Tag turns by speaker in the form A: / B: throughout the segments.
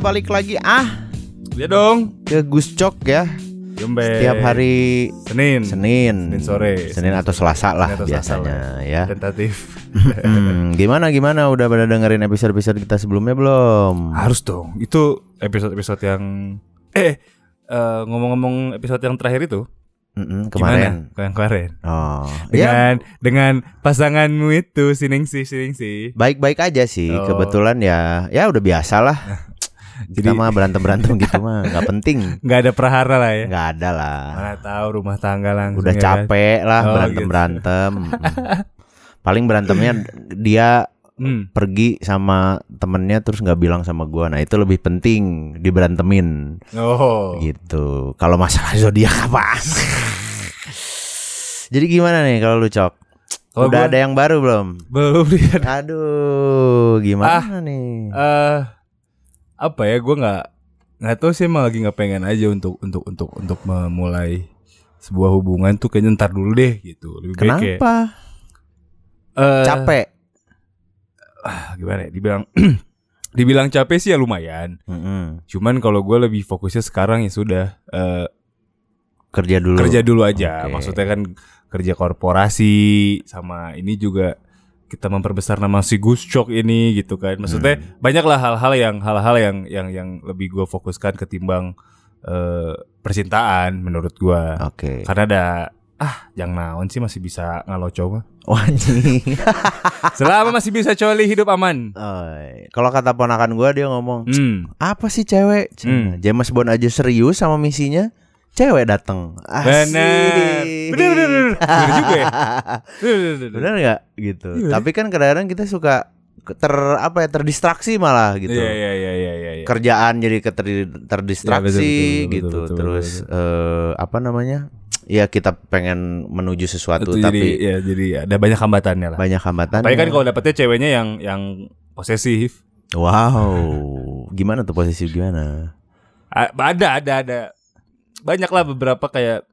A: balik lagi ah
B: Iya dong.
A: ke Guscok ya.
B: Jembe.
A: Tiap hari
B: Senin.
A: Senin.
B: Eh. Hmm. Senin sore.
A: Senin atau Selasa lah
B: Senin atau Selasa
A: biasanya
B: lah.
A: ya.
B: Tentatif.
A: Hmm, gimana gimana udah pada dengerin episode-episode kita sebelumnya belum?
B: Harus dong. Itu episode-episode yang eh eh, ngomong-ngomong episode yang terakhir itu
A: Mm-mm, kemarin.
B: gimana? Yang kemarin.
A: Oh. Ya,
B: Dengan dengan pasanganmu itu siningsi siningsi.
A: baik-baik aja sih.
B: Oh.
A: Kebetulan ya, ya udah biasa lah.
B: Jadi-
A: Kita mah berantem-berantem gitu mah nggak penting.
B: nggak ada prahara lah ya.
A: nggak ada lah.
B: Mana tahu rumah tangga langsung.
A: udah
B: ya kan?
A: capek lah
B: Oh,
A: berantem berantem paling berantemnya dia
B: Hmm.
A: pergi sama temennya terus nggak bilang sama gua nah itu lebih penting diberantemin
B: Oh.
A: gitu kalau masalah zodiak apa jadi gimana nih kalau lu cok
B: Kalau
A: udah
B: gua-
A: ada yang baru belum
B: Belum lihat.
A: aduh
B: Ah.
A: gimana nih
B: Eh apa ya gue nggak nggak tahu sih emang lagi nggak pengen aja untuk untuk untuk untuk memulai sebuah hubungan tuh kayaknya ntar dulu deh gitu lebih baik kayak,
A: kenapa
B: eh,
A: capek
B: ah, gimana ya dibilang dibilang capek sih ya lumayan
A: Mm-mm.
B: cuman kalau gue lebih fokusnya sekarang ya sudah eh,
A: kerja dulu
B: kerja dulu aja
A: Hmm, Oke.
B: maksudnya kan kerja korporasi sama ini juga kita memperbesar nama si Guscok ini gitu kan maksudnya
A: Hmm.
B: banyaklah hal-hal yang hal-hal yang yang yang lebih gue fokuskan ketimbang eh, percintaan menurut gua
A: oke
B: karena ada ah yang naon sih masih bisa ngalau coba
A: Wah, anjing.
B: selama masih bisa coli hidup aman
A: Oi, kalau kata ponakan gua dia ngomong
B: hmm.
A: apa sih cewek?
B: Hmm.
A: James Bond aja serius sama misinya, cewek datang. Asik.
B: benar benar benar benar juga ya Bener, bener, bener.
A: Bener nggak gitu?
B: Iya.
A: Tapi kan kadang-kadang kita suka ke- ter apa ya terdistraksi malah gitu.
B: Iya, iya, iya, iya, iya, iya.
A: Kerjaan jadi keter terdistraksi
B: Iya, betul, betul, betul,
A: gitu.
B: betul, betul,
A: Terus eh, apa namanya? Ya kita pengen menuju sesuatu
B: Itu jadi,
A: tapi
B: ya, jadi ada banyak hambatannya lah.
A: banyak hambatan.
B: Tapi kan kalau dapetnya ceweknya yang yang posesif.
A: Wow. Gimana tuh posisi gimana?
B: A- Ada ada ada. Banyak lah beberapa kayak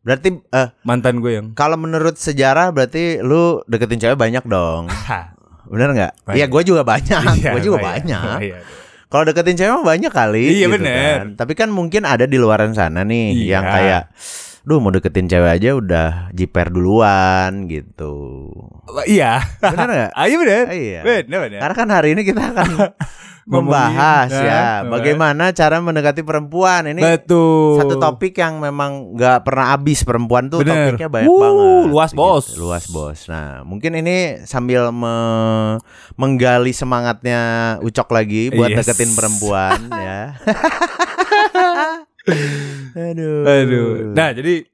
A: Berarti eh,
B: mantan gue yang
A: kalau menurut sejarah berarti lu deketin cewek banyak dong.
B: Hah,
A: Bener nggak?
B: Banyak.
A: Iya, gue juga banyak.
B: iya,
A: gue juga banyak. Kalau deketin cewek mah banyak kali.
B: Iya,
A: gitu
B: bener.
A: kan. Tapi kan mungkin ada di luaran sana nih
B: Iya.
A: yang kayak, duh mau deketin cewek aja udah jiper duluan gitu.
B: Iya.
A: Bener nggak?
B: Ayo bener.
A: Iya.
B: Bener bener.
A: Karena kan hari ini kita akan membahas
B: Ngomongin,
A: ya
B: nah,
A: bagaimana cara mendekati perempuan ini.
B: Betul.
A: Satu topik yang memang nggak pernah habis perempuan tuh
B: Bener.
A: topiknya banyak
B: Wuh,
A: banget.
B: luas,
A: gitu.
B: Bos.
A: Luas bos. Nah mungkin ini sambil me- menggali semangatnya Ucok lagi buat
B: Yes.
A: deketin perempuan ya. Aduh.
B: Aduh. Nah jadi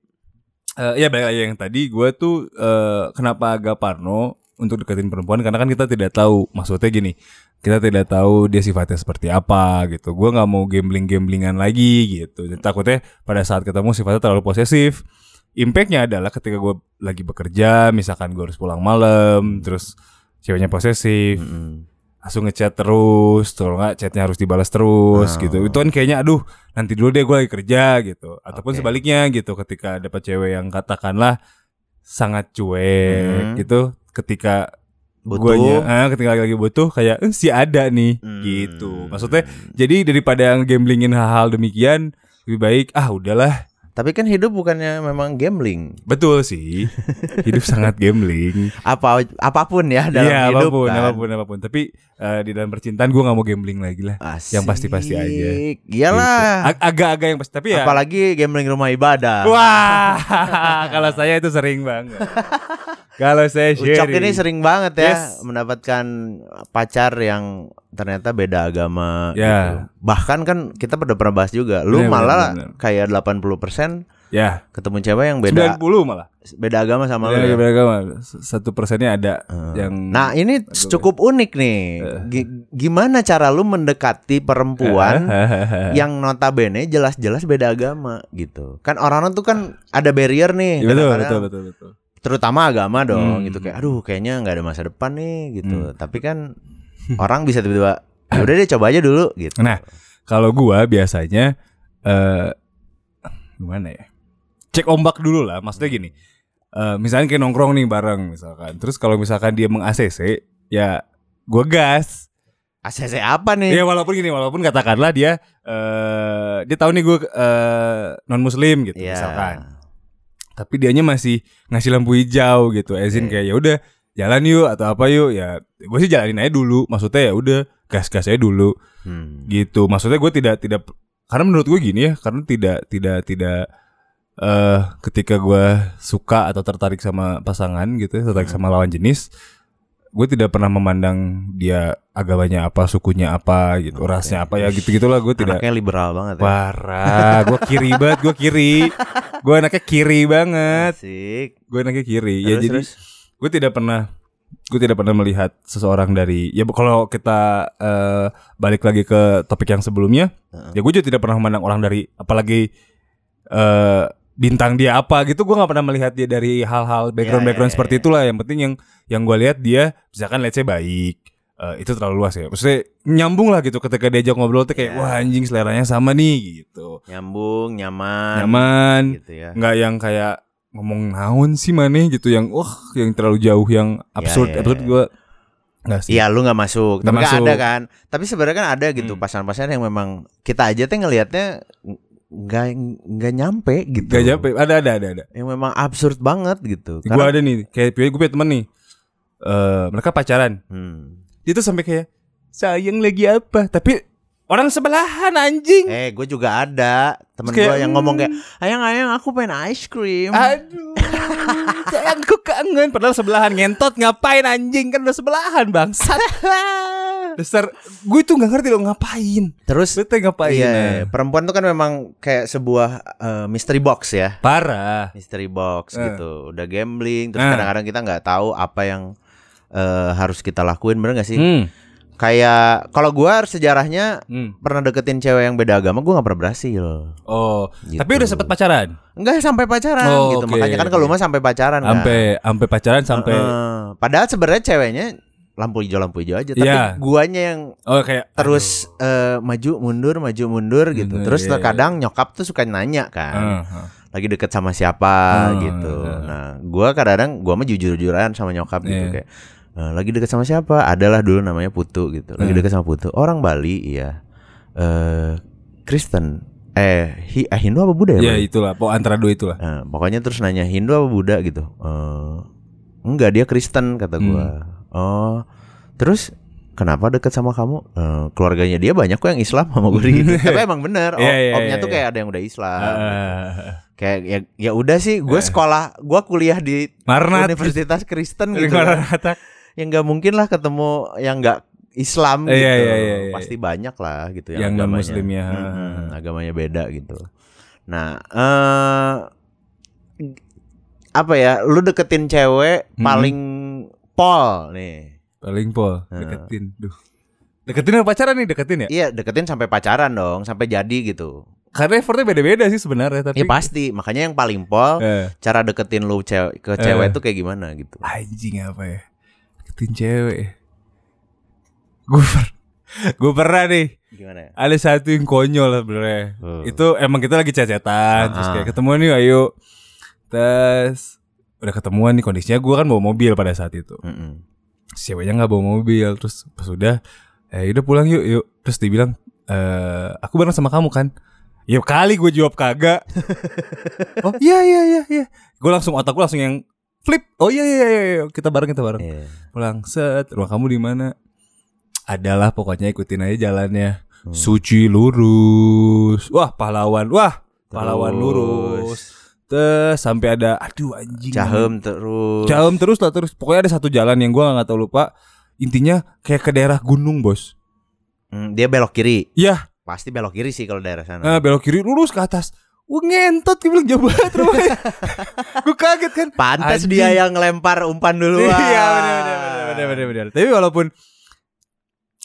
B: eh, ya balik lagi yang tadi gue tuh eh, kenapa agak parno untuk deketin perempuan karena kan kita tidak tahu maksudnya gini kita tidak tahu dia sifatnya seperti apa gitu gue nggak mau gambling gamblingan lagi gitu Jadi takutnya pada saat ketemu sifatnya terlalu posesif impactnya adalah ketika gue lagi bekerja misalkan gue harus pulang malam terus ceweknya posesif
A: Mm-mm.
B: langsung ngechat terus, terus nggak chatnya harus dibalas terus
A: Oh.
B: gitu. Itu kan kayaknya aduh nanti dulu deh gue lagi kerja gitu.
A: Oke.
B: Ataupun sebaliknya gitu ketika dapat cewek yang katakanlah sangat cuek
A: Mhm.
B: gitu ketika
A: Butuh.
B: guanya ah, ketika lagi, lagi butuh kayak "Eh, si ada nih
A: Hmm.
B: gitu. Maksudnya jadi daripada gamblingin hal-hal demikian lebih baik ah udahlah.
A: Tapi kan hidup bukannya memang gambling.
B: Betul sih. Hidup sangat gambling.
A: Apa apapun ya dalam
B: Iya,
A: hidup.
B: apapun,
A: kan.
B: apapun, apapun. Tapi eh, di dalam percintaan gue nggak mau gambling lagi lah.
A: Asik.
B: Yang pasti-pasti aja. Gitu.
A: Iyalah.
B: Ag- Agak-agak yang pasti tapi ya.
A: Apalagi gambling rumah ibadah.
B: Wah, kalau saya itu sering banget. kalau saya sharing.
A: Ucok ini sering banget ya
B: Yes.
A: mendapatkan pacar yang ternyata beda agama
B: Ya.
A: gitu. Bahkan kan kita pernah pernah bahas juga. Lu
B: Benar,
A: malah
B: benar,
A: kayak 80%
B: Ya,
A: ketemu cewek yang beda
B: 90 malah. Iya,
A: beda agama sama lu.
B: Beda
A: ya.
B: agama. Satu persennya ada yang
A: Nah, ini cukup unik nih.
B: Eh.
A: Gi- Gimana cara lu mendekati
B: Eh,
A: perempuan
B: Iya,
A: yang notabene jelas-jelas beda agama gitu. Kan orang-orang tuh kan ada barrier nih.
B: Ya, betul,
A: Kadang-kadang
B: betul, betul, betul.
A: terutama agama dong
B: Hmm.
A: gitu kayak aduh kayaknya nggak ada masa depan nih gitu tapi kan orang bisa tiba-tiba "Ya udah deh coba aja dulu gitu
B: Nah, kalau gua biasanya eh gimana ya? Cek ombak dulu lah, maksudnya gini. Eh misalnya kayak nongkrong nih bareng misalkan. Terus kalau misalkan dia meng-ACC, ya gua gas.
A: ACC apa nih?
B: Ya walaupun gini, walaupun katakanlah dia eh dia tahu nih gue eh, non muslim gitu
A: Iya.
B: misalkan. Tapi dianya masih ngasih lampu hijau gitu. Ezin
A: Oke.
B: kayak ya udah jalan yuk atau apa yuk ya gue sih jalanin aja dulu maksudnya ya udah gas-gas aja dulu
A: Hmm.
B: gitu maksudnya gue tidak tidak karena menurut gue gini ya karena tidak tidak tidak eh ketika gue suka atau tertarik sama pasangan gitu ya,
A: Hmm.
B: tertarik sama lawan jenis gue tidak pernah memandang dia agamanya apa sukunya apa gitu
A: Oke.
B: rasnya apa ya gitu gitulah gue tidak
A: Anaknya liberal banget ya.
B: parah gue kiri banget gue kiri gue anaknya kiri banget
A: Asik.
B: gue anaknya kiri
A: Terus,
B: ya jadi
A: terus?
B: gue tidak pernah gue tidak pernah melihat seseorang dari ya kalau kita eh, balik lagi ke topik yang sebelumnya
A: Heeh.
B: ya gue juga tidak pernah memandang orang dari apalagi eh bintang dia apa gitu gue nggak pernah melihat dia dari hal-hal background background
A: ya,
B: seperti
A: ya.
B: itulah yang penting yang yang gue lihat dia misalkan let's say baik Eh, itu terlalu luas ya maksudnya nyambung lah gitu ketika diajak ngobrol tuh
A: Ya.
B: kayak wah anjing seleranya sama nih gitu
A: nyambung, nyaman,
B: nyaman
A: gitu ya.
B: nggak yang kayak ngomong naon sih maneh gitu yang wah yang terlalu jauh yang absurd
A: Ya, ya,
B: absurd
A: ya.
B: gue nggak sih
A: Iya lu nggak masuk,
B: Nggak
A: tapi kan
B: masuk.
A: ada kan. Tapi sebenarnya kan ada gitu
B: Hmm.
A: pasangan-pasangan yang memang kita aja teh ngelihatnya nggak nggak nyampe gitu.
B: nggak nyampe ada ada ada ada
A: Yang memang absurd banget gitu.
B: gue
A: Karena-
B: ada nih kayak gue punya temen nih Eh mereka pacaran
A: Hmm.
B: dia tuh sampai kayak sayang lagi apa tapi orang sebelahan anjing
A: Eh, gue juga ada temen
B: Terus kayak,
A: gue yang ngomong
B: "Hmm."
A: kayak, ayang ayang aku pengen ice cream.
B: aduh sayangku kangen padahal sebelahan ngentot ngapain anjing kan udah sebelahan bangsat dasar gue tuh nggak ngerti lo ngapain
A: Terus
B: bete ngapain
A: Iya,
B: eh.
A: perempuan tuh kan memang kayak sebuah eh, mystery box ya,
B: parah
A: mystery box
B: Eh.
A: gitu. Udah gambling, terus
B: Eh.
A: kadang-kadang kita nggak tahu apa yang eh, harus kita lakuin, bener gak sih?
B: Hmm.
A: Kayak kalau gua sejarahnya
B: Hmm.
A: pernah deketin cewek yang beda agama, gua nggak pernah berhasil.
B: Oh,
A: Gitu.
B: tapi udah sempet pacaran.
A: Enggak sampai pacaran
B: Oh,
A: gitu,
B: oke,
A: makanya kan kalau
B: oke.
A: mah sampai pacaran kan.
B: Sampai sampai pacaran sampai
A: Heeh. Padahal sebenarnya ceweknya lampu hijau lampu hijau aja, tapi
B: Iya.
A: guanya yang
B: oh kayak
A: terus eh, maju mundur maju mundur gitu.
B: Mundur,
A: Terus
B: iya, iya.
A: terkadang nyokap tuh suka nanya kan.
B: aduh. Heeh.
A: lagi deket sama siapa
B: Ah,
A: gitu.
B: ah.
A: Nah, gua kadang-kadang gua mah jujur-jujuran sama nyokap gitu
B: Iya.
A: kayak "Eh, lagi deket sama siapa? Adalah dulu namanya Putu gitu. Lagi
B: Hmm.
A: deket sama Putu. Orang Bali, iya. Eh Kristen. Eh, hi- eh, Hindu apa Buddha ya?
B: Ya
A: Bang?
B: itulah, pokok antara dua itulah.
A: Nah, pokoknya terus nanya Hindu apa Buddha gitu. Eh, enggak, dia Kristen kata
B: Hmm.
A: gua. Oh. Terus kenapa deket sama kamu? Eh, keluarganya dia banyak kok yang Islam sama gue gitu. Tapi emang bener, om-
B: Iya, iya,
A: omnya
B: iya,
A: tuh
B: iya.
A: kayak ada yang udah Islam.
B: Eh,
A: Kayak ya, ya udah sih, gue sekolah, gue kuliah di
B: Iya. Marnat
A: Universitas Kristen gitu. Kan.
B: Marnat.
A: Ya nggak mungkin lah ketemu yang nggak Islam
B: Iya,
A: gitu.
B: iya, iya, iya.
A: Pasti banyak lah gitu
B: Yang
A: yang, agamanya.
B: non-Muslim ya.
A: Mm-mm, agamanya beda gitu. Nah, eh apa ya? Lu deketin cewek
B: Mm-mm.
A: paling pol nih.
B: Paling pol deketin. Duh. Deketin apa pacaran nih deketin ya?
A: Iya, deketin sampai pacaran dong, sampai jadi gitu.
B: Karena effortnya beda-beda sih sebenarnya tapi
A: Ya pasti, makanya yang paling pol
B: Eh,
A: cara deketin lu cewek ke cewek tuh kayak gimana gitu.
B: anjing apa ya? Deketin cewek. Gue per Gue pernah nih
A: Gimana ya?
B: Ada satu yang konyol sebenarnya.
A: Hmm.
B: Itu emang kita lagi cecetan terus
A: Ah.
B: kayak ketemuan nih ayo. Terus udah ketemuan nih kondisinya gue kan bawa mobil pada saat itu.
A: Mm-mm.
B: Si Ceweknya nggak bawa mobil terus pas udah eh udah pulang yuk yuk terus dibilang eh aku bareng sama kamu kan. Ya kali gue jawab kagak. oh iya iya iya iya. Gue langsung otak gue langsung yang flip. Oh iya iya iya iya. kita bareng kita bareng.
A: Iya.
B: Pulang set rumah kamu di mana? Adalah pokoknya ikutin aja jalannya.
A: Hmm.
B: Suci lurus. Wah, pahlawan. Wah, pahlawan
A: Terus.
B: lurus. Terus sampai ada aduh anjing.
A: Cahem terus.
B: Cahem terus lah terus. Pokoknya ada satu jalan yang gua nggak tahu lupa. Intinya kayak ke daerah gunung, Bos.
A: Hmm, dia belok kiri.
B: Iya.
A: Pasti belok kiri sih kalau daerah sana.
B: Nah, belok kiri lurus ke atas. Wah ngentot dia bilang jauh banget rumahnya. Gue kaget kan.
A: Pantas
B: Anjing.
A: dia yang ngelempar umpan duluan.
B: Iya benar benar benar benar benar. Tapi walaupun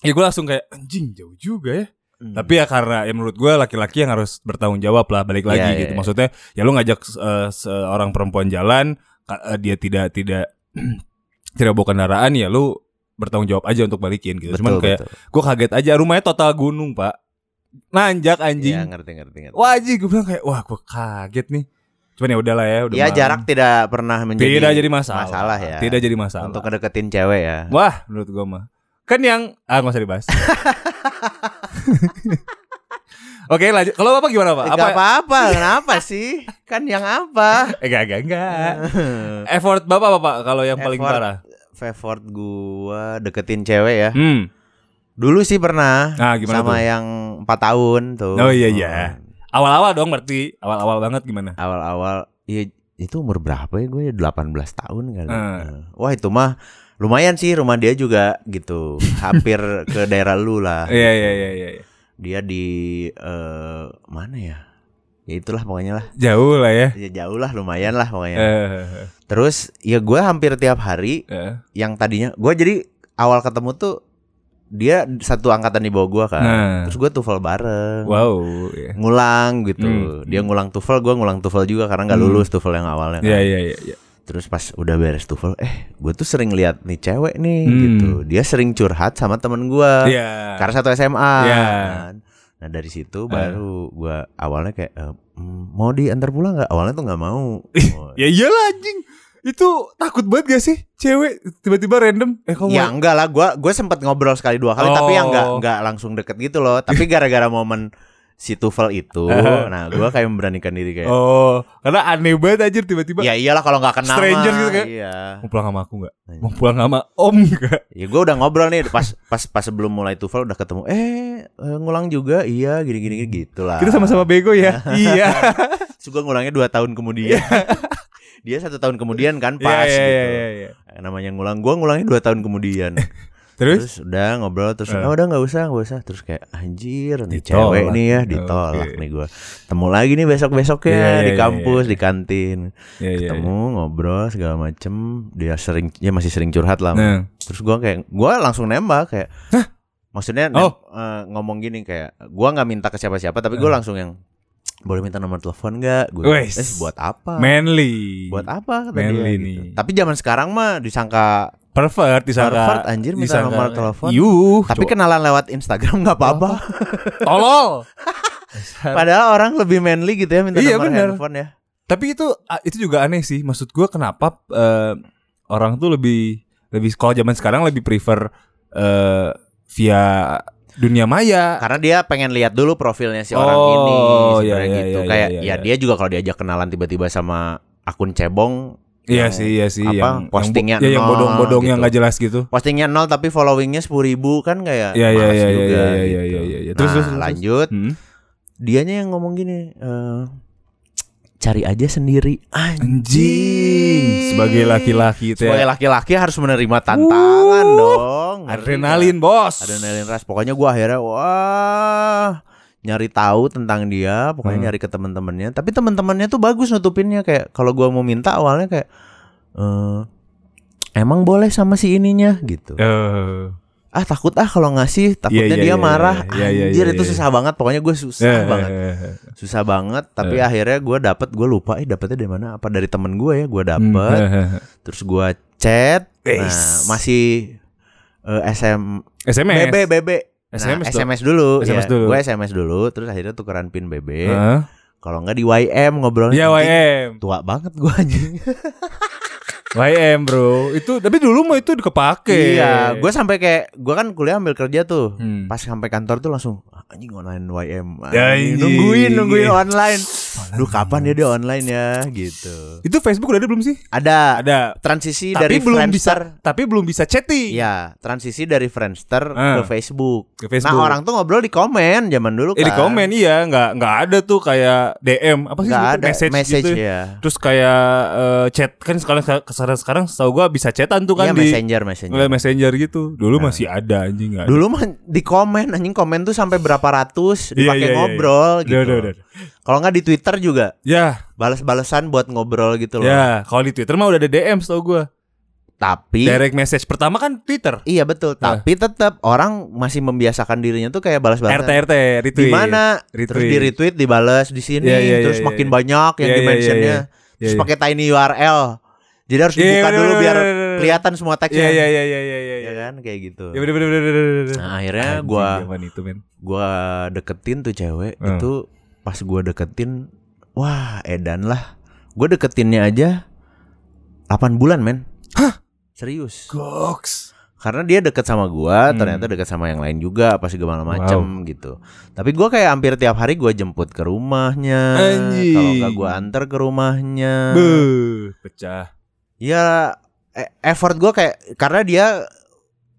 B: ya gue langsung kayak anjing jauh juga ya.
A: Hmm.
B: Tapi ya karena ya menurut gue laki-laki yang harus bertanggung jawab lah balik lagi
A: Iya, iya,
B: gitu.
A: iya.
B: Maksudnya ya lu ngajak eh, seorang perempuan jalan ka- eh, dia tidak tidak tidak bawa kendaraan ya lu bertanggung jawab aja untuk balikin gitu.
A: betul,
B: Cuman kayak
A: betul.
B: gue kaget aja rumahnya total gunung, Pak. Nanjak
A: Iya,
B: anjing.
A: ngerti ngerti ngerti.
B: Wah, anjing gue bilang kayak wah gue kaget nih. Cuman ya udahlah ya udah.
A: Iya,
B: malam.
A: jarak tidak pernah menjadi
B: tidak jadi masalah.
A: masalah ya.
B: Tidak jadi masalah.
A: Untuk ngedeketin cewek ya.
B: Wah, Nah. menurut gua mah Kan yang ah nggak usah dibahas. Oke, lanjut. Kalau Bapak gimana, Pak?
A: Eh,
B: Apa? ya?
A: nggak apa-apa, kenapa sih? Kan yang apa?
B: Eh, enggak, enggak, enggak. Effort Bapak, Bapak kalau yang paling
A: Effort.
B: parah.
A: Favorite gua deketin cewek ya.
B: Hmm.
A: Dulu sih pernah
B: Ah, gimana
A: sama ya.
B: tuh?
A: yang 4 tahun tuh.
B: Oh, iya, iya. Awal-awal dong berarti. Awal-awal banget gimana?
A: Hmm, Awal-awal ya itu umur berapa ya gue ya 18 tahun kali.
B: Hmm.
A: Nah, Wah, itu mah lumayan sih rumah dia juga gitu. Hampir ke daerah lu lah.
B: Iya, iya, iya, iya. iya.
A: Dia di eh, mana ya? Ya itulah pokoknya lah.
B: Jauh lah ya.
A: Ya jauh lah lumayan lah pokoknya.
B: Eh,
A: Terus ya gue hampir tiap hari
B: eh.
A: yang tadinya gue jadi awal ketemu tuh dia satu angkatan di bawah gue kan
B: Nah.
A: terus gue tufel bareng
B: Wow, iya.
A: ngulang gitu
B: Hmm.
A: dia ngulang tufel gue ngulang tufel juga karena nggak
B: Hmm.
A: lulus tufel yang awalnya kan.
B: Iya, iya, iya, iya.
A: terus pas udah beres tufel eh gue tuh sering lihat nih cewek nih
B: Hmm.
A: gitu dia sering curhat sama temen gue
B: Iya.
A: karena satu SMA
B: Ya.
A: kan. nah dari situ baru gue awalnya kayak eh, mm, mau diantar pulang nggak awalnya tuh nggak mau Oh,
B: Ya iyalah anjing. Itu takut banget gak sih cewek tiba-tiba random eh kamu
A: Ya enggak lah, gua gua sempat ngobrol sekali dua kali tapi yang enggak
B: Oh.
A: enggak langsung deket gitu loh. Tapi gara-gara momen si Tufel itu,
B: Aha.
A: nah gua kayak memberanikan diri kayak
B: Oh, karena aneh banget anjir tiba-tiba
A: Ya iyalah kalau nggak kenal
B: Stranger
A: mah,
B: gitu kan?
A: Iya.
B: mau pulang sama aku nggak?
A: Oh,
B: Mau pulang sama om nggak?
A: Ya gua udah ngobrol nih pas pas pas sebelum mulai Tufel udah ketemu. Eh, eh, ngulang juga. Iya, gini-gini gitu lah.
B: Kita sama-sama bego ya.
A: gitu.
B: iya.
A: Terus gua ngulangnya dua tahun kemudian. Dia satu tahun kemudian kan pas
B: Iya, iya,
A: gitu.
B: iya, iya.
A: Namanya ngulang, gua ngulangnya dua tahun kemudian.
B: Terus
A: Terus udah ngobrol terus
B: Eh.
A: "Oh, udah nggak usah nggak usah terus kayak anjir nih
B: Ditolak.
A: cewek nih ya ditolak
B: Oke.
A: nih gua temu lagi nih besok besoknya
B: Iya, iya,
A: di
B: iya,
A: kampus di kantin
B: Iya, iya,
A: ketemu ngobrol segala macem dia sering dia masih sering curhat lah
B: iya. Nah.
A: terus gua kayak gua langsung nembak kayak maksudnya nem-
B: Oh.
A: eh, ngomong gini kayak gua nggak minta ke siapa siapa tapi gua langsung yang boleh minta nomor telepon nggak gue
B: Eh. Wes.
A: buat apa
B: Manly.
A: buat apa kata
B: Manly
A: dia
B: nih.
A: gitu. tapi zaman sekarang mah disangka
B: pervert disangka
A: Pervert, anjir, minta
B: disangka-
A: nomor telepon.
B: Yuh,
A: tapi
B: cowok
A: kenalan lewat Instagram nggak apa-apa
B: tolol.
A: Padahal orang lebih manly gitu ya minta
B: Iya,
A: nomor
B: bener.
A: handphone ya.
B: Tapi itu ah, itu juga aneh sih. Maksud gua kenapa eh, orang tuh lebih lebih kalau zaman sekarang lebih prefer eh, via dunia maya.
A: Karena dia pengen lihat dulu profilnya si
B: Oh,
A: orang ini
B: iya,
A: sebenarnya
B: iya,
A: gitu.
B: iya,
A: Kayak
B: iya,
A: ya
B: iya.
A: dia juga kalau diajak kenalan tiba-tiba sama akun cebong,
B: Iya
A: yang
B: sih, iya sih.
A: apa,
B: yang,
A: postingnya
B: yang, ya, yang
A: nol
B: bodong-bodong yang
A: gitu.
B: nggak jelas gitu.
A: postingnya nol tapi followingnya sepuluh ribu kan kayak
B: Iya, iya,
A: malas
B: iya, iya,
A: juga
B: iya, iya,
A: gitu.
B: iya, iya, iya. Terus,
A: nah,
B: terus, terus,
A: lanjut,
B: Hmm.
A: dianya yang ngomong gini, eh, cari aja sendiri.
B: Anjing, sebagai laki-laki itu
A: Sebagai
B: ya.
A: laki-laki harus menerima tantangan
B: Wuh,
A: dong. Ngerti nggak?
B: Adrenalin, Bos.
A: adrenalin rush pokoknya gua akhirnya wah nyari tahu tentang dia pokoknya
B: Hmm.
A: nyari ke teman-temannya tapi teman-temannya tuh bagus nutupinnya kayak kalau gua mau minta awalnya kayak eh emang boleh sama si ininya gitu
B: Eh,
A: ah takut ah kalau ngasih takutnya
B: Iya, iya,
A: dia
B: iya,
A: marah
B: iya, iya, iya,
A: anjir
B: iya,
A: itu
B: iya.
A: susah banget pokoknya gue susah
B: eh,
A: banget
B: eh, eh, eh.
A: susah banget tapi
B: Iya.
A: akhirnya gua dapet gue lupa eh dapetnya dari mana apa dari temen gue ya gua
B: Hmm,
A: dapet
B: eh, eh.
A: terus gua chat nah
B: Eish.
A: masih eh, SM
B: SMS.
A: BB BB Nah,
B: SMS
A: SMS,
B: dong.
A: dulu.
B: SMS
A: ya.
B: dulu.
A: Gue SMS dulu, terus akhirnya tukeran pin BB.
B: Heeh.
A: Kalau nggak di YM ngobrolnya.
B: Iya,
A: Nanti
B: YM.
A: Tua banget gue anjing.
B: YM bro itu tapi dulu mah itu kepake
A: Iya, gue sampai kayak gue kan kuliah ambil kerja tuh.
B: Hmm.
A: Pas sampai kantor tuh langsung "Ah, anjing online YM.
B: Ya,
A: Anjing,
B: anjing.
A: nungguin nungguin online. Duh kapan ya dia online ya gitu.
B: itu Facebook udah ada belum sih
A: Ada,
B: ada
A: transisi
B: tapi
A: dari
B: belum
A: Friendster.
B: bisa tapi belum bisa chatting
A: Iya, transisi dari Friendster
B: Ah.
A: ke Facebook.
B: Ke Facebook.
A: Nah, orang tuh ngobrol di komen zaman dulu
B: Eh,
A: kan.
B: di komen iya nggak nggak ada tuh kayak DM apa sih
A: Nggak
B: sebutnya?
A: ada message,
B: gitu
A: ya.
B: terus kayak eh, chat kan sekarang sekarang sekarang setahu gua bisa chatan tuh
A: Iya,
B: kan di
A: messenger, messenger. Nah.
B: lewat messenger gitu dulu masih ada anjing nggak ada.
A: Dulu mah di komen anjing komen tuh sampai berapa ratus
B: Iya,
A: dipakai
B: iya, iya, iya.
A: ngobrol
B: Udah,
A: gitu.
B: udah, udah.
A: Kalau nggak di Twitter juga
B: ya
A: balas-balasan buat ngobrol gitu loh.
B: ya kalau di Twitter mah udah ada DM setahu gua
A: Tapi
B: direct message pertama kan Twitter
A: iya betul,
B: Nah.
A: tapi tetap orang masih membiasakan dirinya tuh kayak
B: RT
A: balas-balasan.
B: RT retweet
A: Di mana?
B: Retweet.
A: Terus di retweet dibalas di sini,
B: Iya, iya,
A: terus
B: iya,
A: makin
B: iya.
A: banyak yang
B: Iya,
A: di
B: iya,
A: mentionnya.
B: iya, iya.
A: Terus
B: Iya,
A: pakai tiny URL. Jadi harus
B: Iya,
A: dibuka
B: bener,
A: dulu
B: bener,
A: biar
B: bener, bener.
A: kelihatan semua teksnya.
B: iya iya iya iya iya iya
A: Ya kan kayak gitu.
B: Ya bener bener bener bener, bener, bener.
A: Nah, akhirnya
B: Anjing,
A: gua
B: zaman itu men.
A: gua deketin tuh cewek
B: Hmm.
A: itu pas gua deketin wah edan lah gua deketinnya aja 8 bulan men hah serius
B: Goks.
A: karena dia deket sama gua
B: Hmm.
A: ternyata deket sama yang lain juga apa segala macem gitu tapi gua kayak hampir tiap hari gua jemput ke rumahnya
B: Anjing.
A: kalau nggak gua antar ke rumahnya
B: Beuh, pecah.
A: ya e- effort gua kayak karena dia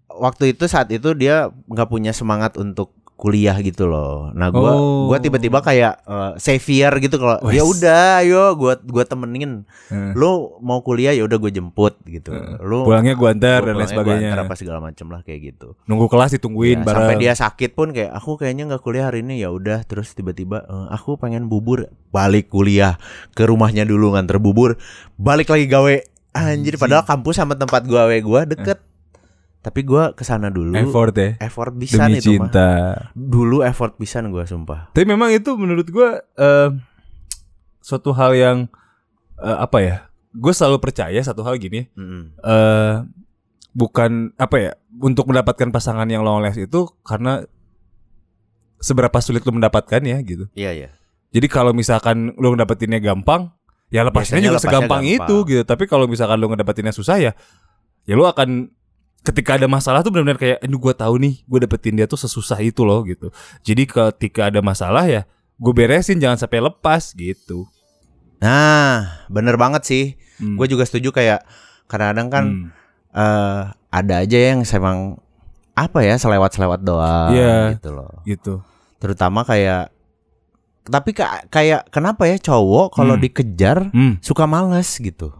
A: waktu itu saat itu dia nggak punya semangat untuk kuliah gitu loh. Nah, gua
B: Oh.
A: gua tiba-tiba kayak eh, savior gitu kalau
B: Wes.
A: ya udah ayo gua gua temenin.
B: Eh.
A: Lu mau kuliah ya udah gua jemput gitu. Lu
B: Pulangnya gua antar Eh, dan
A: pulangnya
B: lain
A: gua
B: sebagainya.
A: antar apa segala macem lah kayak gitu.
B: Nunggu kelas ditungguin
A: Ya,
B: bareng.
A: sampai dia sakit pun kayak aku kayaknya nggak kuliah hari ini ya udah terus tiba-tiba "Eh, aku pengen bubur balik kuliah ke rumahnya dulu nganter bubur balik lagi gawe anjir padahal kampus sama tempat gawe gua deket tapi gua kesana dulu
B: Eh. effort ya.
A: effort pisan
B: Demi
A: itu mah
B: cinta.
A: dulu effort pisan gua sumpah
B: Tapi memang itu menurut gua eh, suatu hal yang eh, apa ya? Gue selalu percaya satu hal gini.
A: Mm-mm.
B: eh bukan apa ya untuk mendapatkan pasangan yang long last itu karena seberapa sulit lu mendapatkan ya gitu.
A: iya iya
B: Jadi kalau misalkan lu ngedapetinnya gampang, ya lepasnya
A: Biasanya
B: juga
A: lepasnya
B: segampang
A: gampang.
B: itu gitu. Tapi kalau misalkan lu ngedapetinnya susah ya, ya lu akan ketika ada masalah tuh benar-benar kayak aduh gua tahu nih, gua dapetin dia tuh sesusah itu loh gitu. Jadi ketika ada masalah ya gue beresin jangan sampai lepas gitu.
A: nah bener banget sih
B: Hmm.
A: gua juga setuju kayak kadang-kadang kan
B: Hmm.
A: eh, ada aja yang emang apa ya selewat-selewat doang
B: Iya.
A: gitu loh
B: gitu.
A: terutama kayak tapi ka- kayak kenapa ya cowok kalau
B: Hmm.
A: dikejar
B: Hmm.
A: suka males gitu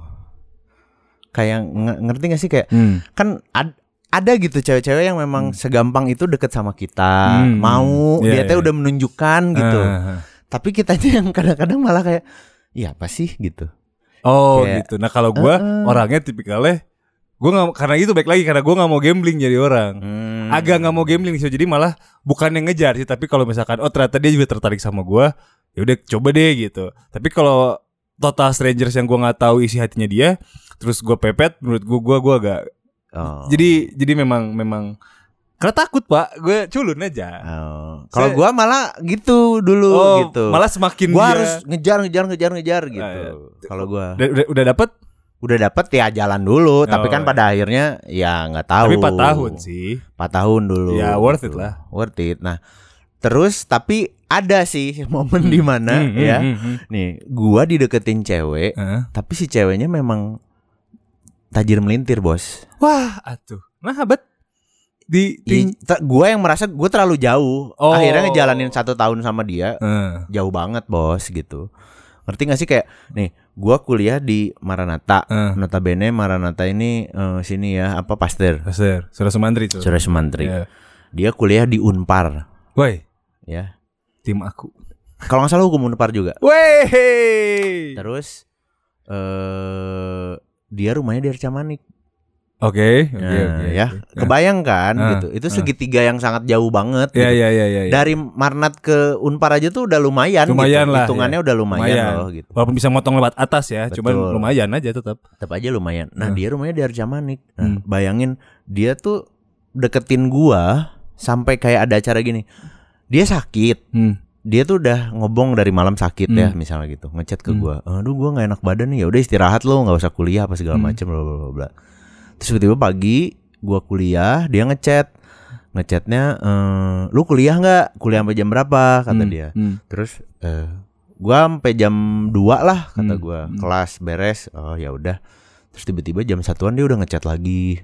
A: kayak nge- ngerti gak sih kayak
B: Hmm.
A: kan ad- ada gitu cewek-cewek yang memang segampang itu deket sama kita
B: Hmm.
A: mau dia
B: Iya,
A: teh
B: iya.
A: udah menunjukkan gitu
B: Ah.
A: tapi kitanya yang kadang-kadang malah kayak iya apa sih gitu
B: Oh
A: Kayak,
B: gitu. Nah kalau gua
A: "Eh, eh."
B: orangnya tipikalnya gue nggak karena itu baik lagi karena gue nggak mau gambling jadi orang. Hmm. Agak nggak mau gambling sih. Jadi malah bukan yang ngejar sih. Tapi kalau misalkan oh ternyata dia juga tertarik sama gua ya udah coba deh gitu. Tapi kalau total strangers yang gua nggak tahu isi hatinya dia, terus gua pepet, menurut gua gua gua agak.
A: Oh.
B: Jadi jadi memang memang karena takut pak, gue culun aja.
A: Oh. kalau
B: Saya-
A: gua malah gitu dulu
B: oh
A: gitu
B: malah semakin
A: gua
B: dia-
A: harus ngejar ngejar ngejar ngejar gitu
B: iya.
A: kalau gua
B: udah udah, udah dapet,
A: udah dapat ya jalan dulu tapi
B: Oh,
A: kan
B: iya.
A: pada akhirnya ya nggak tahu
B: tapi 4 tahun sih.
A: 4 tahun dulu
B: Ya, worth it lah.
A: worth it nah terus tapi ada sih momen di mana
B: Hmm, hmm,
A: ya
B: hmm, hmm.
A: nih gua dideketin cewek
B: Heeh.
A: tapi si ceweknya memang tajir melintir bos
B: Wah, atuh. Nah, bet. Di
A: Iya,
B: ting.
A: ter- gua yang merasa gua terlalu jauh
B: Oh.
A: akhirnya ngejalanin satu tahun sama dia
B: Heeh.
A: jauh banget bos gitu ngerti gak sih kayak nih gua kuliah di Maranatha
B: Heeh.
A: notabene Maranatha ini eh, sini ya apa Pasteur
B: Pasir, Surah Sumantri tuh.
A: Surya Sumantri
B: Iya.
A: dia kuliah di Unpar
B: Woi,
A: ya
B: tim aku.
A: kalau nggak salah hukum Unpar juga
B: Woi.
A: terus eh dia rumahnya di Arcamanik
B: Oke, oke,
A: Nah,
B: oke.
A: ya kebayang kan
B: Ah,
A: gitu itu segitiga yang sangat jauh banget
B: Ya,
A: gitu.
B: ya, ya, ya. ya.
A: dari Marnat ke Unpar aja tuh udah lumayan, gitu.
B: Lumayan lah, iya.
A: hitungannya udah lumayan,
B: Lumayan.
A: loh
B: Oh.
A: gitu
B: Walaupun bisa motong lewat atas ya, cuman
A: Betul.
B: lumayan aja tetap.
A: tetap aja lumayan. Nah,
B: Hmm.
A: dia rumahnya di Arjamanik. Nah,
B: Hmm.
A: bayangin dia tuh deketin gua sampai kayak ada acara gini. Dia sakit.
B: Hmm.
A: Dia tuh udah ngobong dari malam sakit ya,
B: Hmm.
A: misalnya gitu. Ngechat ke
B: Hmm.
A: gua, "Aduh, gua nggak enak badan nih. Ya udah istirahat lo, nggak usah kuliah apa segala
B: Hmm.
A: macem bla bla bla, bla." Terus tiba-tiba pagi gua kuliah, dia ngechat. Ngechatnya, eh, "Lu kuliah nggak? Kuliah sampai jam berapa?" kata
B: Hmm,
A: dia.
B: hmm.
A: Terus eh gua sampai jam 2 lah kata
B: Hmm,
A: gua.
B: hmm.
A: Kelas beres. Oh ya udah. Terus tiba-tiba jam satuan dia udah ngechat lagi.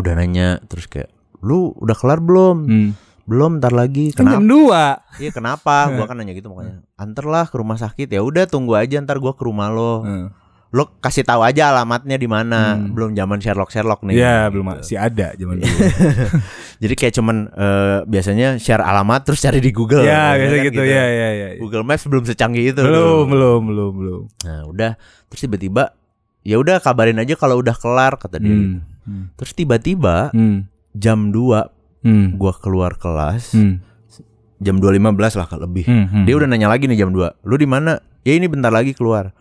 A: Udah nanya terus kayak lu udah kelar belum?
B: Hmm.
A: Belum, ntar lagi.
B: Kan jam
A: Kenapa?
B: 2.
A: Iya, kenapa? Gua kan nanya gitu makanya. Anterlah ke rumah sakit. Ya udah tunggu aja ntar gua ke rumah lo.
B: Heeh.
A: Lo kasih tahu aja alamatnya di mana.
B: Hmm.
A: Belum zaman Sherlock-Sherlock nih.
B: Ya,
A: Gitu.
B: belum masih ada zaman dulu.
A: Jadi kayak cuman eh, biasanya share alamat terus cari di Google.
B: ya,
A: Kan
B: biasa gitu. Ya, ya, ya. ya.
A: Google Maps belum secanggih itu.
B: Belum, belum, belum, belum.
A: Nah, udah terus tiba-tiba ya udah kabarin aja kalau udah kelar kata dia.
B: Hmm.
A: gitu. Terus tiba-tiba
B: Hmm.
A: jam 2
B: Hmm.
A: gua keluar kelas,
B: Hmm.
A: jam 2.15 lah kalau lebih.
B: Hmm, hmm.
A: Dia udah nanya lagi nih jam 2. Lu di mana? Ya ini bentar lagi keluar.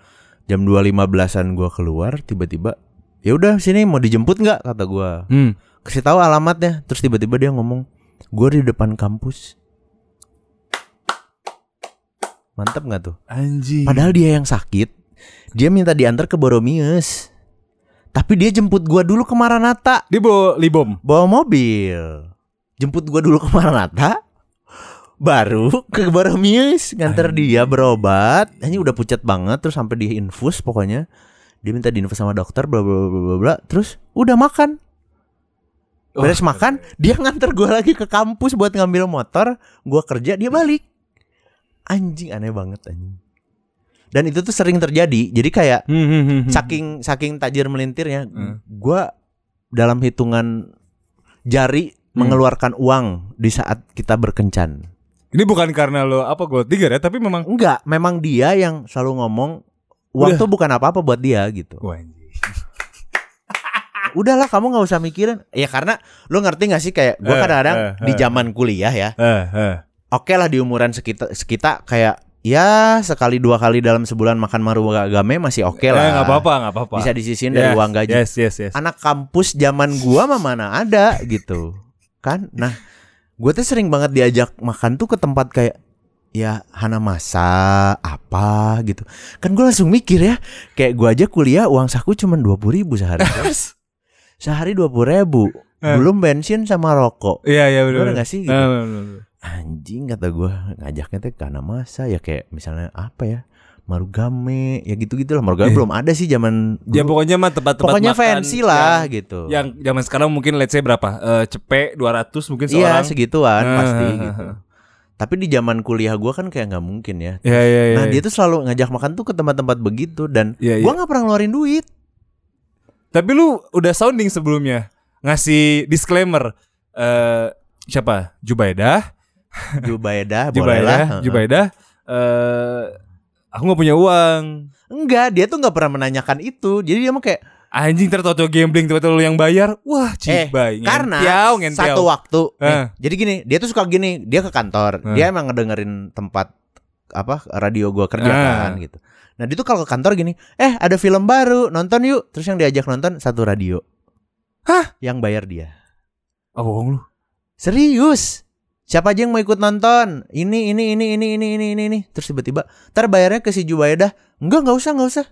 A: Jam 2.15-an gua keluar tiba-tiba ya udah sini mau dijemput nggak kata gua.
B: Hmm.
A: Kasih tahu alamatnya. Terus tiba-tiba dia ngomong, "Gua di depan kampus." Mantap nggak tuh?
B: Anjing.
A: Padahal dia yang sakit, dia minta diantar ke Boromius. Tapi dia jemput gua dulu ke Maranata
B: Dia bawa libom.
A: bawa mobil. Jemput gua dulu ke Maranata baru ke Boromius nganter dia berobat. Ini udah pucat banget terus sampai dia infus pokoknya. Dia minta diinfus sama dokter bla bla bla bla bla terus udah makan. Beres
B: Wah.
A: makan, dia nganter gua lagi ke kampus buat ngambil motor, gua kerja, dia balik. Anjing aneh banget anjing. Dan itu tuh sering terjadi. Jadi kayak
B: Hmm, hmm, hmm, hmm.
A: saking saking tajir melintirnya
B: Hmm.
A: gua dalam hitungan jari
B: Hmm.
A: mengeluarkan uang di saat kita berkencan
B: Ini bukan karena lo apa gue tiga ya, tapi memang
A: enggak memang dia yang selalu ngomong uang
B: Udah.
A: tuh bukan apa-apa buat dia gitu
B: Wah, anjing.
A: udahlah kamu nggak usah mikirin ya karena lu ngerti gak sih kayak gua
B: Eh,
A: kadang-kadang
B: eh,
A: di
B: eh.
A: zaman kuliah ya
B: Eh, eh.
A: oke lah di umuran sekitar sekita kayak ya sekali dua kali dalam sebulan makan maru game masih oke
B: Eh,
A: lah
B: nggak apa-apa, nggak apa-apa.
A: bisa disisihin dari
B: Yes,
A: uang gaji Kan
B: Yes, yes, yes.
A: anak kampus zaman gua mah mana ada gitu kan nah gua tuh sering banget diajak makan tuh ke tempat kayak ya Hana masa apa gitu kan gua langsung mikir ya kayak gua aja kuliah uang saku cuma dua ribu sehari sehari dua ribu
B: Eh.
A: belum bensin sama rokok
B: Iya, iya benar.
A: Bener gak sih gitu?
B: Eh, bener, bener, bener.
A: anjing kata gua ngajaknya tuh ke Hana masa ya kayak misalnya apa ya Marugame ya gitu gitulah Marugame
B: Iya.
A: belum ada sih zaman
B: Ya
A: dulu.
B: pokoknya mah tempat-tempat
A: pokoknya
B: makan
A: fancy lah gitu
B: Yang, yang zaman sekarang mungkin let's say berapa? Eh, cepek 200 mungkin
A: Iya
B: seorang.
A: segituan
B: Ah,
A: pasti
B: ah, ah,
A: gitu. Tapi di zaman kuliah gua kan kayak nggak mungkin ya.
B: Iya, iya, iya.
A: Nah dia tuh selalu ngajak makan tuh ke tempat-tempat begitu dan
B: Iya,
A: gua nggak pernah ngeluarin duit.
B: Tapi lu udah sounding sebelumnya ngasih disclaimer eh siapa? Jubaidah,
A: Jubaida boleh lah.
B: Jubaidah, Jubaidah. Eh aku nggak punya uang.
A: Enggak dia tuh nggak pernah menanyakan itu. Jadi dia mah kayak
B: Anjing tertoto gambling tiba-tiba lu yang bayar. Wah,
A: eh
B: cibai.
A: karena
B: Ngentiau, ngentiau.
A: satu waktu. nih,
B: Eh.
A: jadi gini dia tuh suka gini dia ke kantor
B: Eh.
A: dia emang ngedengerin tempat apa radio gua kerja
B: Eh.
A: kan gitu. Nah dia tuh kalau ke kantor gini eh ada film baru nonton yuk terus yang diajak nonton satu radio. Hah? Yang bayar dia.
B: Ah, bohong lu.
A: Serius? Siapa aja yang mau ikut nonton? Ini, ini, ini, ini, ini, ini, ini, ini. Terus tiba-tiba, ntar bayarnya ke si Jubaida. Enggak, nggak usah, nggak usah.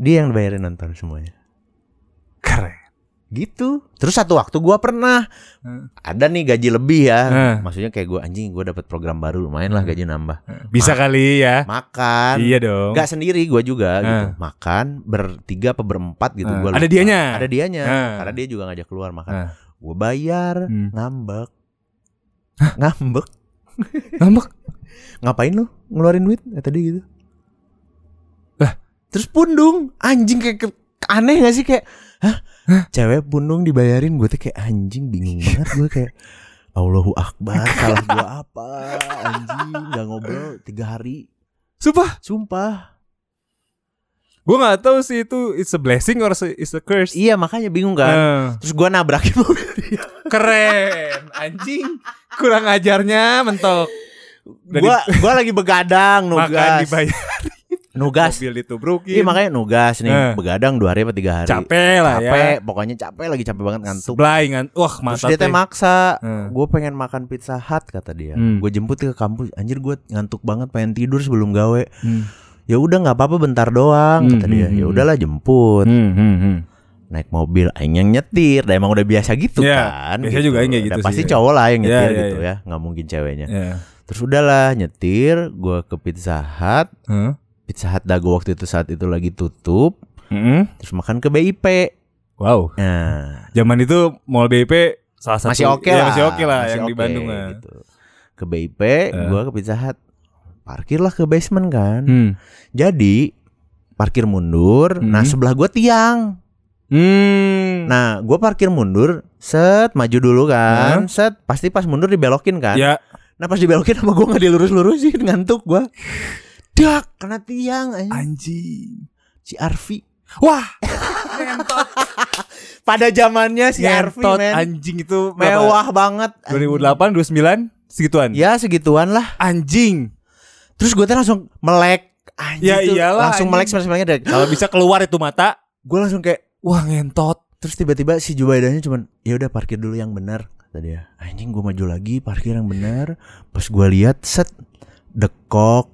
A: Dia yang bayarin nonton semuanya.
B: Keren.
A: Gitu. Terus satu waktu gua pernah
B: Hmm.
A: ada nih gaji lebih ya.
B: Hmm.
A: Maksudnya kayak gua anjing, gua dapat program baru lumayan lah gaji nambah.
B: Bisa kali ya.
A: Makan.
B: Iya dong.
A: Gak sendiri gua juga
B: Hmm.
A: gitu. Makan bertiga apa berempat gitu
B: Hmm.
A: gua.
B: Ada
A: lupa.
B: dianya.
A: Ada dianya.
B: Hmm.
A: Karena dia juga ngajak keluar makan.
B: Hmm.
A: Gua bayar,
B: Hmm.
A: ngambek. Ngambek.
B: Ngambek.
A: ngapain lu ngeluarin duit ya, tadi gitu
B: Lah.
A: terus pundung anjing kayak ke- aneh gak sih kayak hah cewek pundung dibayarin gue tuh kayak anjing bingung banget gue kayak Allahu Akbar salah gue apa anjing gak ngobrol tiga hari
B: Sumpah,
A: sumpah
B: gua nggak tahu sih itu it's a blessing or it's a curse.
A: iya makanya bingung kan
B: Eh.
A: terus gue nabrakin mobil dia
B: Keren, anjing. Kurang ajarnya mentok. Dan
A: gue gue lagi begadang
B: Makan
A: nugas
B: dibayar
A: nugas
B: mobil ditubrukin.
A: iya makanya nugas nih
B: Eh.
A: begadang dua hari apa tiga hari
B: capek lah ya.
A: capek pokoknya capek lagi capek banget ngantuk
B: Seblay ngan- Wah,
A: Terus
B: mata
A: dia teh
B: teh.
A: maksa,
B: Hmm.
A: gue pengen makan pizza hut kata dia.
B: Hmm.
A: Gue jemput ke kampus, anjir gue ngantuk banget pengen tidur sebelum gawe.
B: Hmm.
A: Ya udah nggak apa-apa bentar doang kata
B: Hmm,
A: dia.
B: hmm,
A: Ya
B: hmm.
A: udahlah jemput,
B: Hmm, hmm, hmm.
A: naik mobil, aing yang nyetir. Dah emang udah biasa gitu
B: Iya,
A: kan.
B: biasa juga aing kayak
A: Dah
B: gitu
A: Pasti
B: sih.
A: cowok lah yang
B: Iya,
A: nyetir
B: iya,
A: gitu
B: iya.
A: ya, nggak mungkin ceweknya.
B: Ya.
A: Terus udahlah nyetir, gue ke pizza hut.
B: Huh?
A: Pizza hut dago waktu itu saat itu lagi tutup.
B: Mm-mm.
A: Terus makan ke BIP.
B: Hmm? Wow,
A: Nah,
B: zaman itu Mall BIP salah satu
A: masih oke lah
B: ya, masih oke lah
A: Masih
B: yang di
A: oke,
B: Bandung lah. Eh.
A: gitu. ke BIP gua ke Pizza Hut parkirlah ke basement kan
B: Hmm.
A: jadi parkir mundur nah
B: Mhm.
A: sebelah gua tiang
B: Hmm.
A: nah gua parkir mundur set maju dulu
B: Eh.
A: kan set pasti pas mundur dibelokin kan
B: ya,
A: nah pas dibelokin sama gua nggak dilurus lurusin ngantuk gua dak kena tiang anjing.
B: anjing.
A: si Arfi
B: Wah, ngentot,
A: pada zamannya si Arfi
B: ngentot
A: men
B: anjing itu berapa?
A: mewah banget anjing.
B: 2008, 29 segituan.
A: ya segituan lah
B: Anjing.
A: terus gua tuh langsung melek anjing
B: Ya
A: tuh.
B: iyalah,
A: langsung
B: anjing.
A: melek sebenarnya dari
B: Kalau bisa keluar itu mata,
A: gue langsung kayak
B: wah ngentot.
A: terus tiba-tiba si Jubaidahnya cuman ya udah parkir dulu yang benar kata dia anjing gue maju lagi parkir yang benar pas gue lihat set dekok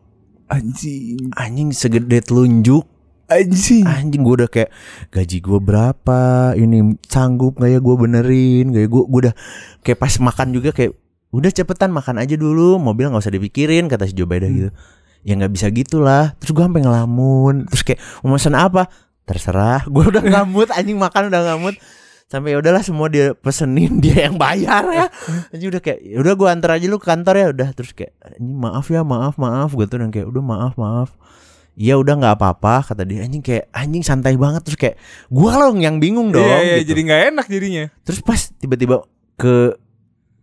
B: Anjing.
A: anjing segede telunjuk
B: Anjing.
A: anjing gue udah kayak gaji gue berapa ini sanggup nggak ya gue benerin nggak ya gue gue udah kayak pas makan juga kayak udah cepetan makan aja dulu mobil nggak usah dipikirin kata si Jobaida gitu ya nggak bisa gitulah terus gue sampai ngelamun terus kayak mau pesan apa terserah gue udah ngamut anjing makan udah ngamut sampai ya udahlah semua dia pesenin dia yang bayar ya anjing udah kayak ya udah gue antar aja lu ke kantor ya udah terus kayak anjing maaf ya maaf maaf gue tuh yang kayak udah maaf maaf Iya udah nggak apa-apa kata dia anjing kayak anjing santai banget terus kayak gua loh yang bingung dong
B: Iya, iya,
A: gitu.
B: jadi nggak enak jadinya.
A: terus pas tiba-tiba ke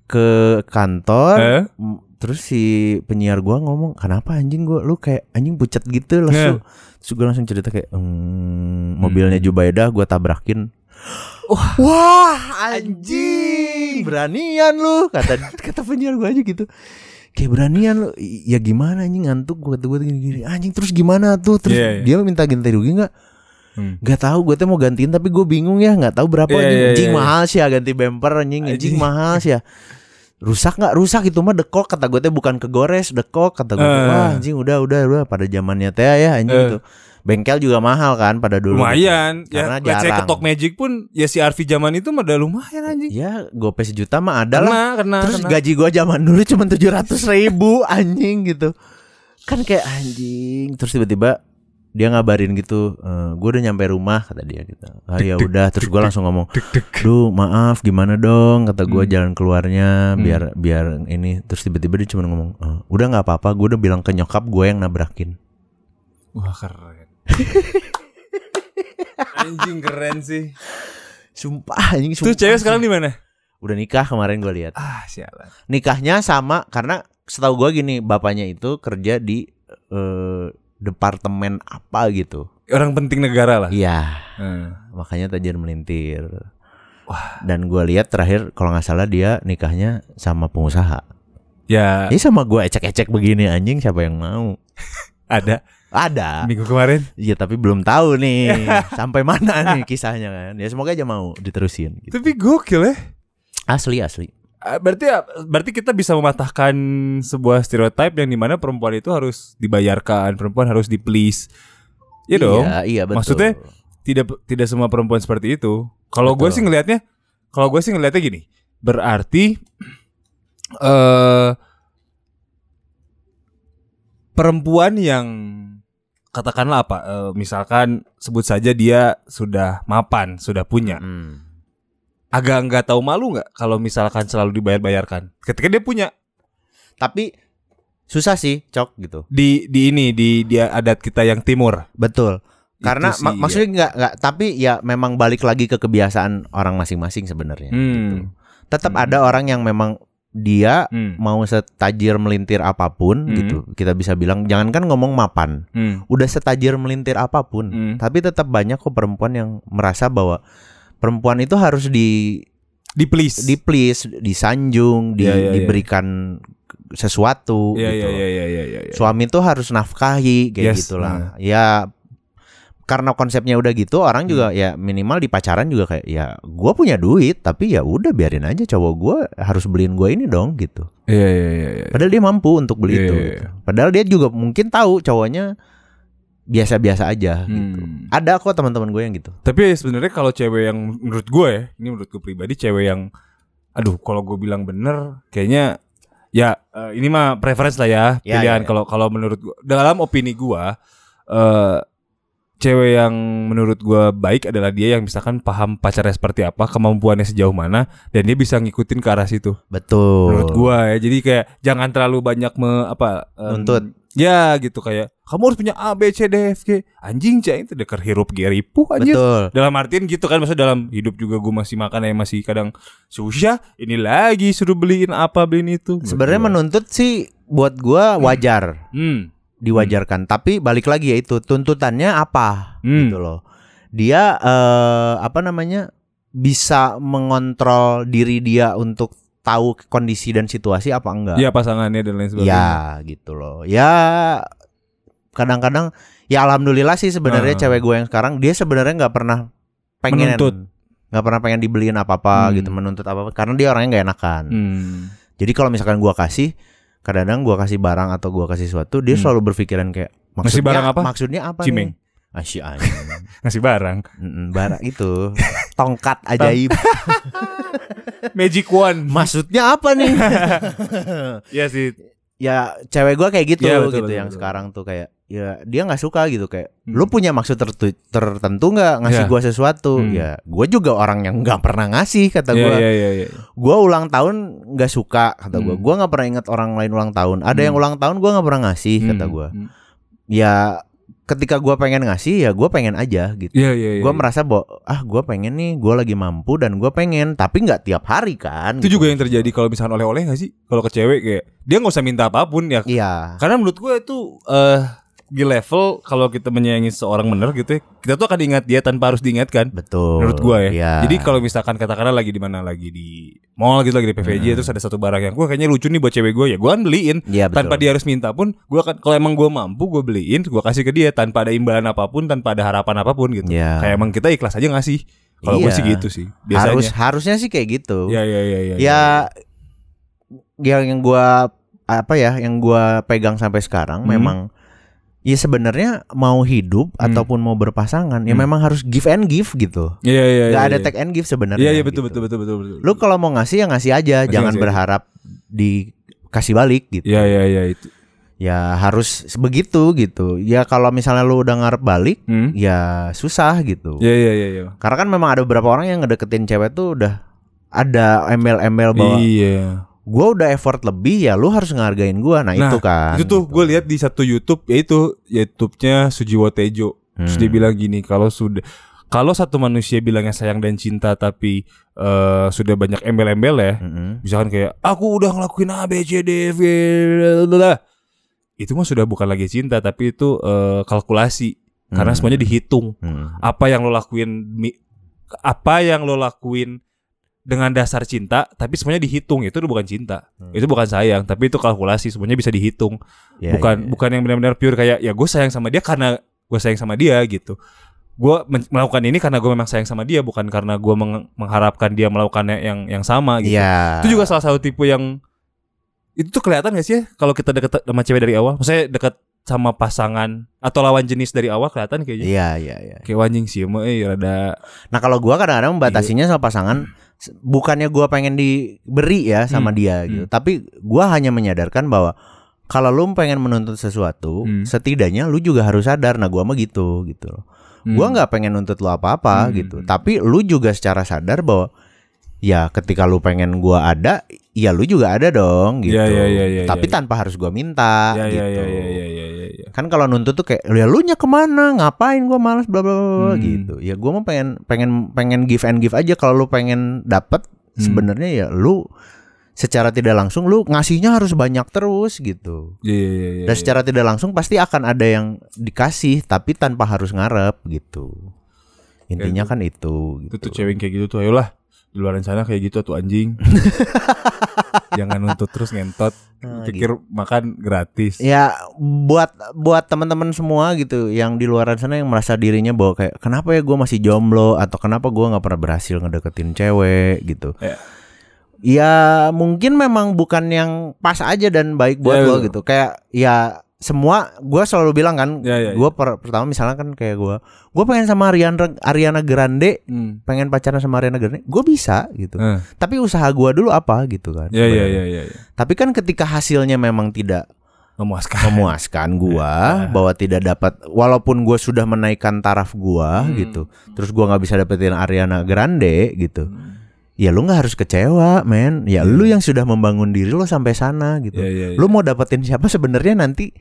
A: ke kantor
B: Eh?
A: m- terus si penyiar gua ngomong kenapa anjing gua lu kayak anjing pucat gitu langsung terus gua langsung cerita kayak "Hmm, mobilnya Jubaida gua tabrakin Wah, anjing beranian lu kata kata penyiar gua aja gitu kayak beranian lu I- ya gimana anjing ngantuk gua kata gua gini-gini anjing terus gimana tuh terus
B: Iya, iya.
A: dia minta ganti rugi nggak
B: Hmm.
A: Gak tahu gue tuh mau gantiin tapi gue bingung ya nggak tahu berapa
B: Iya,
A: anjing,
B: iya,
A: Anjing
B: iya.
A: mahal sih ya ganti bumper anjing anjing
B: Anjing.
A: mahal sih ya rusak nggak rusak itu mah dekok kata gue teh bukan kegores dekok kata gue teh,
B: Eh.
A: wah anjing udah udah udah pada zamannya teh ya anjing
B: Eh.
A: itu bengkel juga mahal kan pada dulu
B: Lumayan.
A: Karena
B: Ya, let's say
A: jarang.
B: ketok magic pun ya si Arfi zaman itu mah udah lumayan anjing.
A: ya gope sejuta mah ada lah
B: Karena karena
A: terus gaji gue zaman dulu cuma tujuh ratus ribu anjing gitu kan kayak anjing terus tiba-tiba dia ngabarin gitu gue udah nyampe rumah kata dia gitu ah ya udah terus gue langsung ngomong Duh maaf gimana dong kata gue jalan keluarnya biar biar ini terus tiba-tiba dia cuma ngomong "Eh, udah nggak apa-apa gue udah bilang ke nyokap gue yang nabrakin
B: Wah keren. Anjing keren sih.
A: sumpah anjing
B: Tuh
A: sumpah
B: cewek sekarang di mana?
A: udah nikah kemarin gue lihat
B: Ah sialan.
A: nikahnya sama karena setahu gue gini bapaknya itu kerja di eh, departemen apa gitu
B: Orang penting negara lah.
A: iya
B: Hmm.
A: makanya tajir melintir
B: Wah.
A: dan gue lihat terakhir kalau nggak salah dia nikahnya sama pengusaha
B: Ya
A: ini sama gue ecek-ecek begini anjing siapa yang mau
B: ada
A: ada
B: minggu kemarin.
A: Iya tapi belum tahu nih sampai mana nih kisahnya kan. Ya semoga aja mau diterusin. Gitu.
B: Tapi gokil ya.
A: Asli asli.
B: Ah, Berarti berarti kita bisa mematahkan sebuah stereotype yang dimana perempuan itu harus dibayarkan, perempuan harus di please. Ya dong.
A: Iya, iya betul.
B: Maksudnya, tidak tidak semua perempuan seperti itu. Kalau gue
A: Betul.
B: sih ngelihatnya, kalau gue sih ngelihatnya gini, berarti eh perempuan yang katakanlah apa, eh, misalkan sebut saja dia sudah mapan, sudah punya,
A: Hmm.
B: agak nggak tahu malu nggak kalau misalkan selalu dibayar-bayarkan. Ketika dia punya
A: tapi susah sih cok gitu.
B: di di ini di dia adat kita yang timur,
A: Betul.
B: Itu
A: Karena
B: sih, iya.
A: mak- maksudnya nggak nggak tapi ya memang balik lagi ke kebiasaan orang masing-masing sebenarnya.
B: Hmm.
A: Gitu. Tetap
B: Hmm.
A: ada orang yang memang dia
B: Hmm,
A: mau setajir melintir apapun
B: Hmm.
A: gitu. Kita bisa bilang jangankan ngomong mapan,
B: hmm,
A: udah setajir melintir apapun.
B: hmm.
A: Tapi tetap banyak kok perempuan yang merasa bahwa perempuan itu harus di
B: di please,
A: di please, disanjung, di-
B: Iya, iya, iya.
A: diberikan sesuatu
B: ya,
A: gitu. loh.
B: ya, ya, ya, ya, ya, ya.
A: Suami tuh harus nafkahi kayak
B: Yes, nah.
A: gitulah. Ya karena konsepnya udah gitu, orang juga
B: Hmm.
A: ya minimal di pacaran juga kayak ya gua punya duit, tapi ya udah biarin aja cowok gua harus beliin gua ini dong gitu.
B: Iya, iya, iya, iya.
A: Padahal dia mampu untuk beli
B: Iya,
A: itu.
B: iya,
A: gitu. Padahal dia juga mungkin tahu cowoknya biasa-biasa aja gitu.
B: Hmm.
A: Ada kok teman-teman gue yang gitu.
B: Tapi sebenarnya kalau cewek yang menurut gue ya, ini menurut gue pribadi cewek yang aduh kalau gue bilang bener kayaknya ya eh, ini mah preference lah ya
A: Ya,
B: pilihan
A: ya, ya.
B: kalau kalau menurut gue dalam opini gue eh cewek yang menurut gue baik adalah dia yang misalkan paham pacarnya seperti apa kemampuannya sejauh mana dan dia bisa ngikutin ke arah situ
A: Betul.
B: menurut gue ya jadi kayak jangan terlalu banyak me apa em,
A: Nuntut.
B: ya gitu kayak kamu harus punya A B C D F G anjing cah itu deker hirup geripuh anjir
A: Betul.
B: dalam artian gitu kan maksudnya dalam hidup juga gue masih makan yang masih kadang susah ini lagi suruh beliin apa beliin itu
A: Sebenarnya
B: Menurut
A: menuntut sih buat gua wajar,
B: gua. hmm.
A: diwajarkan. Tapi balik lagi ya itu tuntutannya apa
B: Hmm.
A: gitu loh. Dia eh, apa namanya? bisa mengontrol diri dia untuk tahu kondisi dan situasi apa enggak.
B: ya pasangannya dan lain sebagainya
A: Ya, gitu loh. Ya kadang-kadang ya alhamdulillah sih sebenarnya
B: Ah.
A: cewek gue yang sekarang dia sebenarnya nggak pernah pengen
B: Menuntut.
A: nggak pernah pengen dibeliin apa-apa
B: Hmm.
A: gitu, menuntut apa-apa karena dia orangnya nggak enakan.
B: Hmm.
A: Jadi kalau misalkan gua kasih, kadang-kadang gua kasih barang atau gua kasih sesuatu, dia
B: Hmm.
A: selalu berpikiran kayak maksudnya
B: barang apa?
A: Maksudnya apa nih?
B: Cimeng.
A: Asyik anjing.
B: ngasih barang
A: Mm-mm, Bara itu tongkat ajaib.
B: magic wand
A: Maksudnya apa nih?
B: ya sih
A: ya cewek gua kayak gitu
B: Iya, betul,
A: gitu
B: betul,
A: yang
B: betul.
A: sekarang tuh kayak ya dia nggak suka gitu kayak
B: Hmm.
A: lu punya maksud tertu- tertentu nggak ngasih
B: Iya.
A: gua sesuatu
B: Hmm.
A: ya gua juga orang yang nggak pernah ngasih kata
B: ya
A: gua
B: ya ya ya
A: gua ulang tahun nggak suka kata gua
B: Hmm.
A: gua nggak pernah ingat orang lain ulang tahun ada yang
B: Hmm.
A: ulang tahun gua nggak pernah ngasih kata
B: Hmm,
A: gua
B: hmm.
A: ya ketika gua pengen ngasih ya gua pengen aja gitu
B: ya ya ya
A: gua merasa bahwa ah gua pengen nih gua lagi mampu dan gua pengen tapi nggak tiap hari kan
B: itu
A: gitu.
B: juga yang terjadi kalau misalkan oleh-oleh gak sih kalau ke cewek kayak dia nggak usah minta apapun ya
A: iya
B: Karena menurut gue itu eh di level kalau kita menyayangi seorang bener gitu ya, kita tuh akan diingat dia tanpa harus diingatkan.
A: betul
B: Menurut gue ya.
A: Iya.
B: Jadi kalau misalkan katakanlah lagi di mana lagi di mall gitu lagi di PVJ terus ada satu barang yang gue kayaknya lucu nih buat cewek gue ya gue kan beliin.
A: Iya, Hmm. betul.
B: Tanpa dia harus minta pun gue akan kalau emang gue mampu gue beliin gue kasih ke dia tanpa ada imbalan apapun tanpa ada harapan apapun gitu.
A: Iya.
B: Kayak emang kita ikhlas aja ngasih. Kalau gue
A: Iya.
B: sih gitu sih biasanya.
A: harus harusnya sih kayak gitu
B: Ya ya ya ya.
A: ya
B: iya.
A: yang yang gua apa ya yang gua pegang sampai sekarang
B: Hmm.
A: memang ya sebenarnya mau hidup
B: Hmm.
A: ataupun mau berpasangan ya
B: Hmm.
A: memang harus give and give gitu
B: Ya ya ya.
A: nggak
B: ya,
A: ada
B: ya.
A: take and give sebenarnya
B: Iya iya betul,
A: gitu.
B: betul betul betul betul.
A: lu kalau mau ngasih ya ngasih aja
B: Ngasih,
A: jangan
B: ngasih aja.
A: berharap dikasih balik gitu
B: Ya ya ya itu.
A: ya harus begitu gitu ya kalau misalnya lu udah ngarep balik
B: Hmm?
A: ya susah gitu
B: Ya ya ya ya.
A: karena kan memang ada beberapa orang yang ngedeketin cewek tuh udah ada embel-embel bahwa
B: Iya.
A: gue udah effort lebih ya lu harus ngehargain gue nah,
B: Nah,
A: itu kan
B: itu tuh gue lihat di satu YouTube yaitu YouTube-nya Sujiwo Tejo. Terus dia
A: Hmm.
B: bilang gini, kalau sudah kalau satu manusia bilangnya sayang dan cinta tapi eh, sudah banyak embel-embel ya,
A: Mm-mm.
B: misalkan kayak aku udah ngelakuin A B C D E F G blablabla." itu mah sudah bukan lagi cinta tapi itu eh, kalkulasi karena
A: Hmm.
B: semuanya dihitung.
A: Hmm.
B: Apa yang lo lakuin mi- apa yang lo lakuin dengan dasar cinta tapi semuanya dihitung itu bukan cinta.
A: Hmm.
B: Itu bukan sayang tapi itu kalkulasi semuanya bisa dihitung
A: Ya,
B: bukan
A: ya, ya.
B: bukan yang benar-benar pure kayak ya gue sayang sama dia karena gue sayang sama dia gitu gue men- melakukan ini karena gue memang sayang sama dia bukan karena gue meng- mengharapkan dia melakukannya yang yang sama gitu
A: Iya.
B: itu juga salah satu tipe yang itu tuh kelihatan gak sih ya kalau kita deket sama cewek dari awal maksudnya deket sama pasangan atau lawan jenis dari awal kelihatan kayaknya
A: Iya, iya, iya.
B: kayak anjing sih emang eh rada
A: Nah, kalau gua
B: Iya.
A: kadang-kadang membatasinya sama pasangan s- bukannya gua pengen diberi ya sama
B: Hmm.
A: dia gitu, tapi gua hanya menyadarkan bahwa kalau lu pengen menuntut sesuatu,
B: Hmm.
A: setidaknya lu juga harus sadar. Nah, gua mah gitu gitu. Gua nggak pengen nuntut lu apa-apa
B: Hmm.
A: gitu, tapi lu juga secara sadar bahwa ya ketika lu pengen gua ada, ya lu juga ada dong gitu.
B: Iya, iya, iya, iya,
A: tapi
B: iya.
A: tanpa harus gua minta
B: ya, ya,
A: gitu.
B: ya, ya, ya, ya, ya, ya.
A: Kan kalau nuntut tuh kayak ya lu nya kemana ngapain gua malas bla bla bla bla,"
B: Hmm.
A: gitu. Ya gua mau pengen pengen pengen give and give aja kalau lu pengen dapet
B: Hmm.
A: sebenarnya ya lu secara tidak langsung lu ngasihnya harus banyak terus gitu.
B: Ya, ya, ya, ya,
A: Dan
B: ya.
A: secara tidak langsung pasti akan ada yang dikasih tapi tanpa harus ngarep gitu. Intinya kan itu
B: Iya, Itu tuh
A: gitu.
B: cewek yang kayak gitu tuh ayolah di luar sana kayak gitu tuh anjing. Jangan nuntut terus ngentot.
A: Nah,
B: pikir makan gratis.
A: Ya buat buat teman-teman semua gitu yang di luaran sana yang merasa dirinya bahwa kayak kenapa ya gue masih jomblo atau kenapa gue nggak pernah berhasil ngedeketin cewek gitu.
B: Ya.
A: Ya mungkin memang bukan yang pas aja dan baik buat
B: Ya,
A: lo
B: betul.
A: gitu. Kayak ya semua gue selalu bilang kan
B: Ya, ya,
A: gue per- pertama misalnya kan kayak gue gue pengen sama Ariana Ariana Grande
B: Hmm.
A: pengen pacaran sama Ariana Grande gue bisa gitu
B: Eh,
A: tapi usaha gue dulu apa gitu kan
B: Ya, ya,
A: sebenarnya.
B: ya, ya, ya.
A: tapi kan ketika hasilnya memang tidak
B: Memuaskan.
A: memuaskan gua
B: Iya.
A: bahwa tidak dapat walaupun gua sudah menaikkan taraf gua
B: Hmm.
A: gitu terus gua nggak bisa dapetin Ariana Grande gitu
B: Hmm.
A: ya lu nggak harus kecewa men ya
B: Iya.
A: lu yang sudah membangun diri lu sampai sana
B: Ya,
A: gitu
B: ya, ya.
A: lu mau dapetin siapa sebenarnya nanti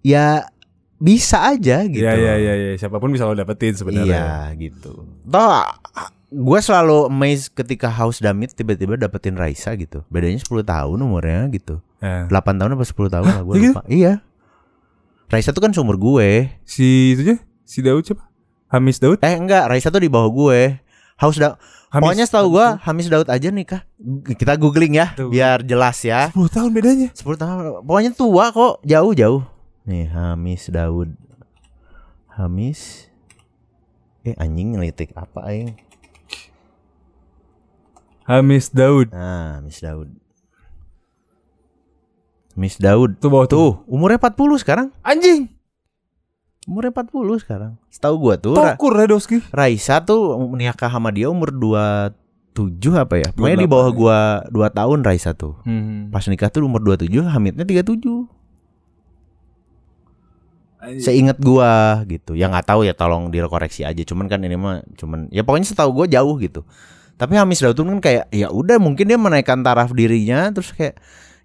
A: ya bisa aja gitu
B: Ya, ya, ya, ya. Siapapun bisa lo
A: iya
B: dapetin sebenarnya.
A: gitu toh gue selalu amazed ketika House Damit tiba-tiba dapetin Raisa gitu bedanya 10 tahun umurnya gitu
B: Eh,
A: 8 tahun apa 10 tahun lah gue
B: iya gitu?
A: lupa. Iya. Raisa tuh kan seumur gue.
B: Si itu aja, si Daud siapa? Hamis Daud?
A: Eh enggak, Raisa tuh di bawah gue. Haus Daud.
B: Hamis.
A: Pokoknya setahu gue Hamis Daud aja nikah. Kita googling ya
B: Tuh.
A: biar jelas ya.
B: 10 tahun bedanya.
A: 10 tahun. Pokoknya tua kok, jauh-jauh. Nih Hamis Daud. Hamis Eh anjing ngelitik apa aing?
B: Hamis Daud.
A: Nah, Hamis Daud. Hamis Daud.
B: Tuh bawah tuh.
A: Tuh, umurnya 40 sekarang.
B: Anjing.
A: umurnya 40 sekarang. Setahu gua tuh Ra-
B: Tokur Radowski.
A: Raisa tuh menikah sama dia umur 27 apa ya? Pokoknya di
B: 28,
A: bawah
B: ya.
A: gua 2 tahun Raisa tuh.
B: Hmm.
A: Pas nikah tuh umur 27, hamitnya 37.
B: Iya.
A: Seingat gua gitu. Ya nggak tahu ya tolong dikoreksi aja. Cuman kan ini mah cuman ya pokoknya setahu gua jauh gitu. Tapi Hamis Daud kan kayak ya udah mungkin dia menaikkan taraf dirinya terus kayak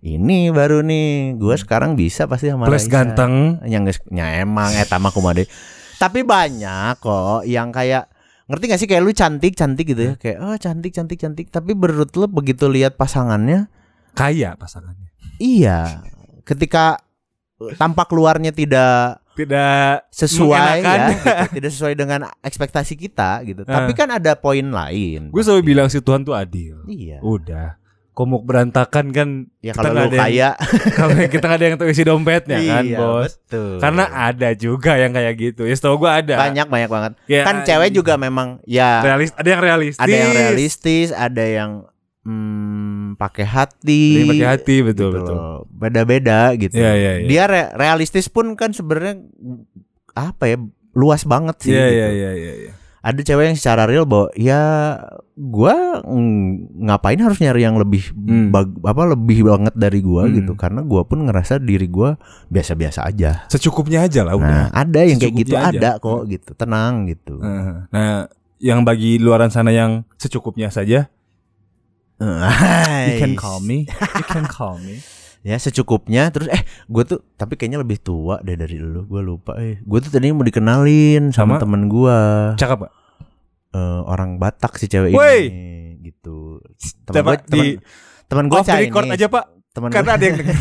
A: ini baru nih gua sekarang bisa pasti sama
B: Plus
A: Raisa."
B: ganteng.
A: yang geus- nya emang eta mah kumade. Tapi banyak kok yang kayak ngerti gak sih kayak lu cantik cantik gitu ya
B: Hmm.
A: kayak oh cantik cantik cantik tapi menurut lu begitu lihat pasangannya
B: Kaya pasangannya.
A: iya ketika eh, tampak luarnya tidak
B: Tidak
A: sesuai
B: Mengenakan. Ah.
A: ya gitu, tidak sesuai dengan ekspektasi kita gitu tapi kan ada poin lain
B: Gue selalu bilang si Tuhan tuh adil.
A: iya
B: Udah. Komuk berantakan kan
A: ya
B: Oh, kita
A: kalau
B: nggak
A: lu
B: ada yang-
A: kaya
B: kalau kita nggak ada yang tahu isi dompetnya kan,
A: iya,
B: Bos.
A: betul.
B: Karena ada juga yang kayak gitu. Ya setahu gue ada.
A: banyak banyak banget
B: Ya,
A: kan cewek juga memang ya
B: realis ada yang realistis.
A: ada yang realistis, ada yang hmm, pakai hati,
B: Ada yang pakai hati, betul,
A: gitu
B: betul.
A: loh. Beda-beda gitu.
B: Iya, iya, iya.
A: Dia re- realistis pun kan sebenarnya apa ya luas banget sih.
B: Iya,
A: gitu.
B: iya, iya, iya, iya.
A: Ada cewek yang secara real bahwa ya gua mm, ngapain harus nyari yang lebih
B: Hmm.
A: bag- apa lebih banget dari gua
B: Hmm.
A: gitu karena gua pun ngerasa diri gua biasa-biasa aja.
B: Secukupnya aja lah
A: Nah,
B: udah.
A: ada yang kayak gitu
B: ya. secukupnya aja.
A: ada kok gitu. Tenang gitu.
B: Heeh. Nah, yang bagi luaran sana yang secukupnya saja, you can call me, you can call me.
A: ya secukupnya terus eh gue tuh tapi kayaknya lebih tua deh dari lu gue lupa eh gue tuh tadinya mau dikenalin sama,
B: Sama?
A: temen gue
B: Cakep gak?
A: orang Batak si cewek
B: Woi!
A: ini gitu temen
B: Coba
A: gue temen,
B: di-
A: temen gue
B: Off the record aja pak,
A: temen
B: karena
A: gua-
B: ada yang denger.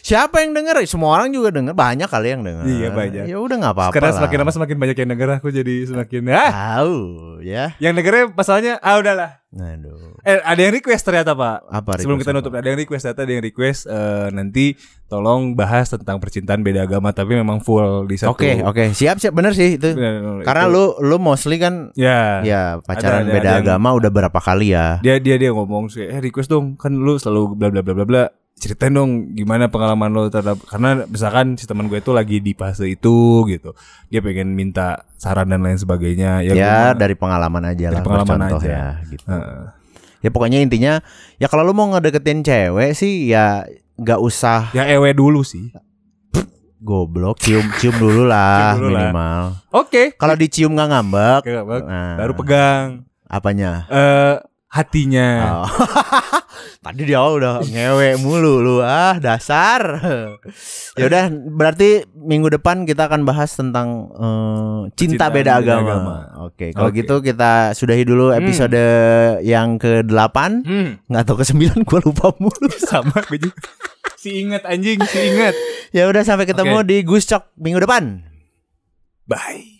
A: siapa yang denger semua orang juga denger banyak kali yang denger
B: Iya, banyak.
A: ya udah nggak apa-apa
B: Karena
A: lah.
B: semakin lama semakin banyak yang denger aku jadi semakin ah.
A: tahu ya
B: Yang dengernya pasalnya ah udahlah.
A: aduh
B: Eh ada yang request ternyata pak.
A: apa
B: Sebelum
A: request
B: kita
A: apa?
B: nutup ada yang request ternyata ada yang request eh, nanti tolong bahas tentang percintaan beda agama tapi memang full di satu.
A: oke oke siap siap bener sih itu
B: Benar,
A: karena
B: itu.
A: lu lu mostly kan
B: ya.
A: ya pacaran
B: ada-
A: beda
B: ada yang-
A: agama udah berapa kali ya
B: dia dia dia ngomong sih eh request dong kan lu selalu bla bla bla bla bla ceritain dong gimana pengalaman lo terhadap karena misalkan si teman gue itu lagi di fase itu gitu dia pengen minta saran dan lain sebagainya ya,
A: ya
B: gua-
A: dari pengalaman aja lah
B: Dari pengalaman
A: bercontoh
B: aja.
A: ya gitu
B: Heeh.
A: ya pokoknya intinya ya kalau lu mau ngedeketin cewek sih ya nggak usah
B: ya ewe dulu sih
A: goblok cium cium dulu lah
B: Cium dulu lah.
A: minimal
B: oke
A: kalau dicium nggak ngambek
B: Nggak ngambek.
A: nah,
B: baru pegang
A: apanya
B: eh hatinya
A: Oh. tadi dia udah ngewe mulu lu ah dasar ya udah berarti minggu depan kita akan bahas tentang eh, cinta
B: Percintaan
A: beda
B: beda
A: agama,
B: agama.
A: oke kalau
B: Oke.
A: gitu kita sudahi dulu episode yang ke 8
B: hmm.
A: nggak tahu ke sembilan gue lupa mulu
B: sama gue juga si ingat anjing si ingat
A: ya udah sampai ketemu
B: Oke.
A: di Guscok minggu depan
B: bye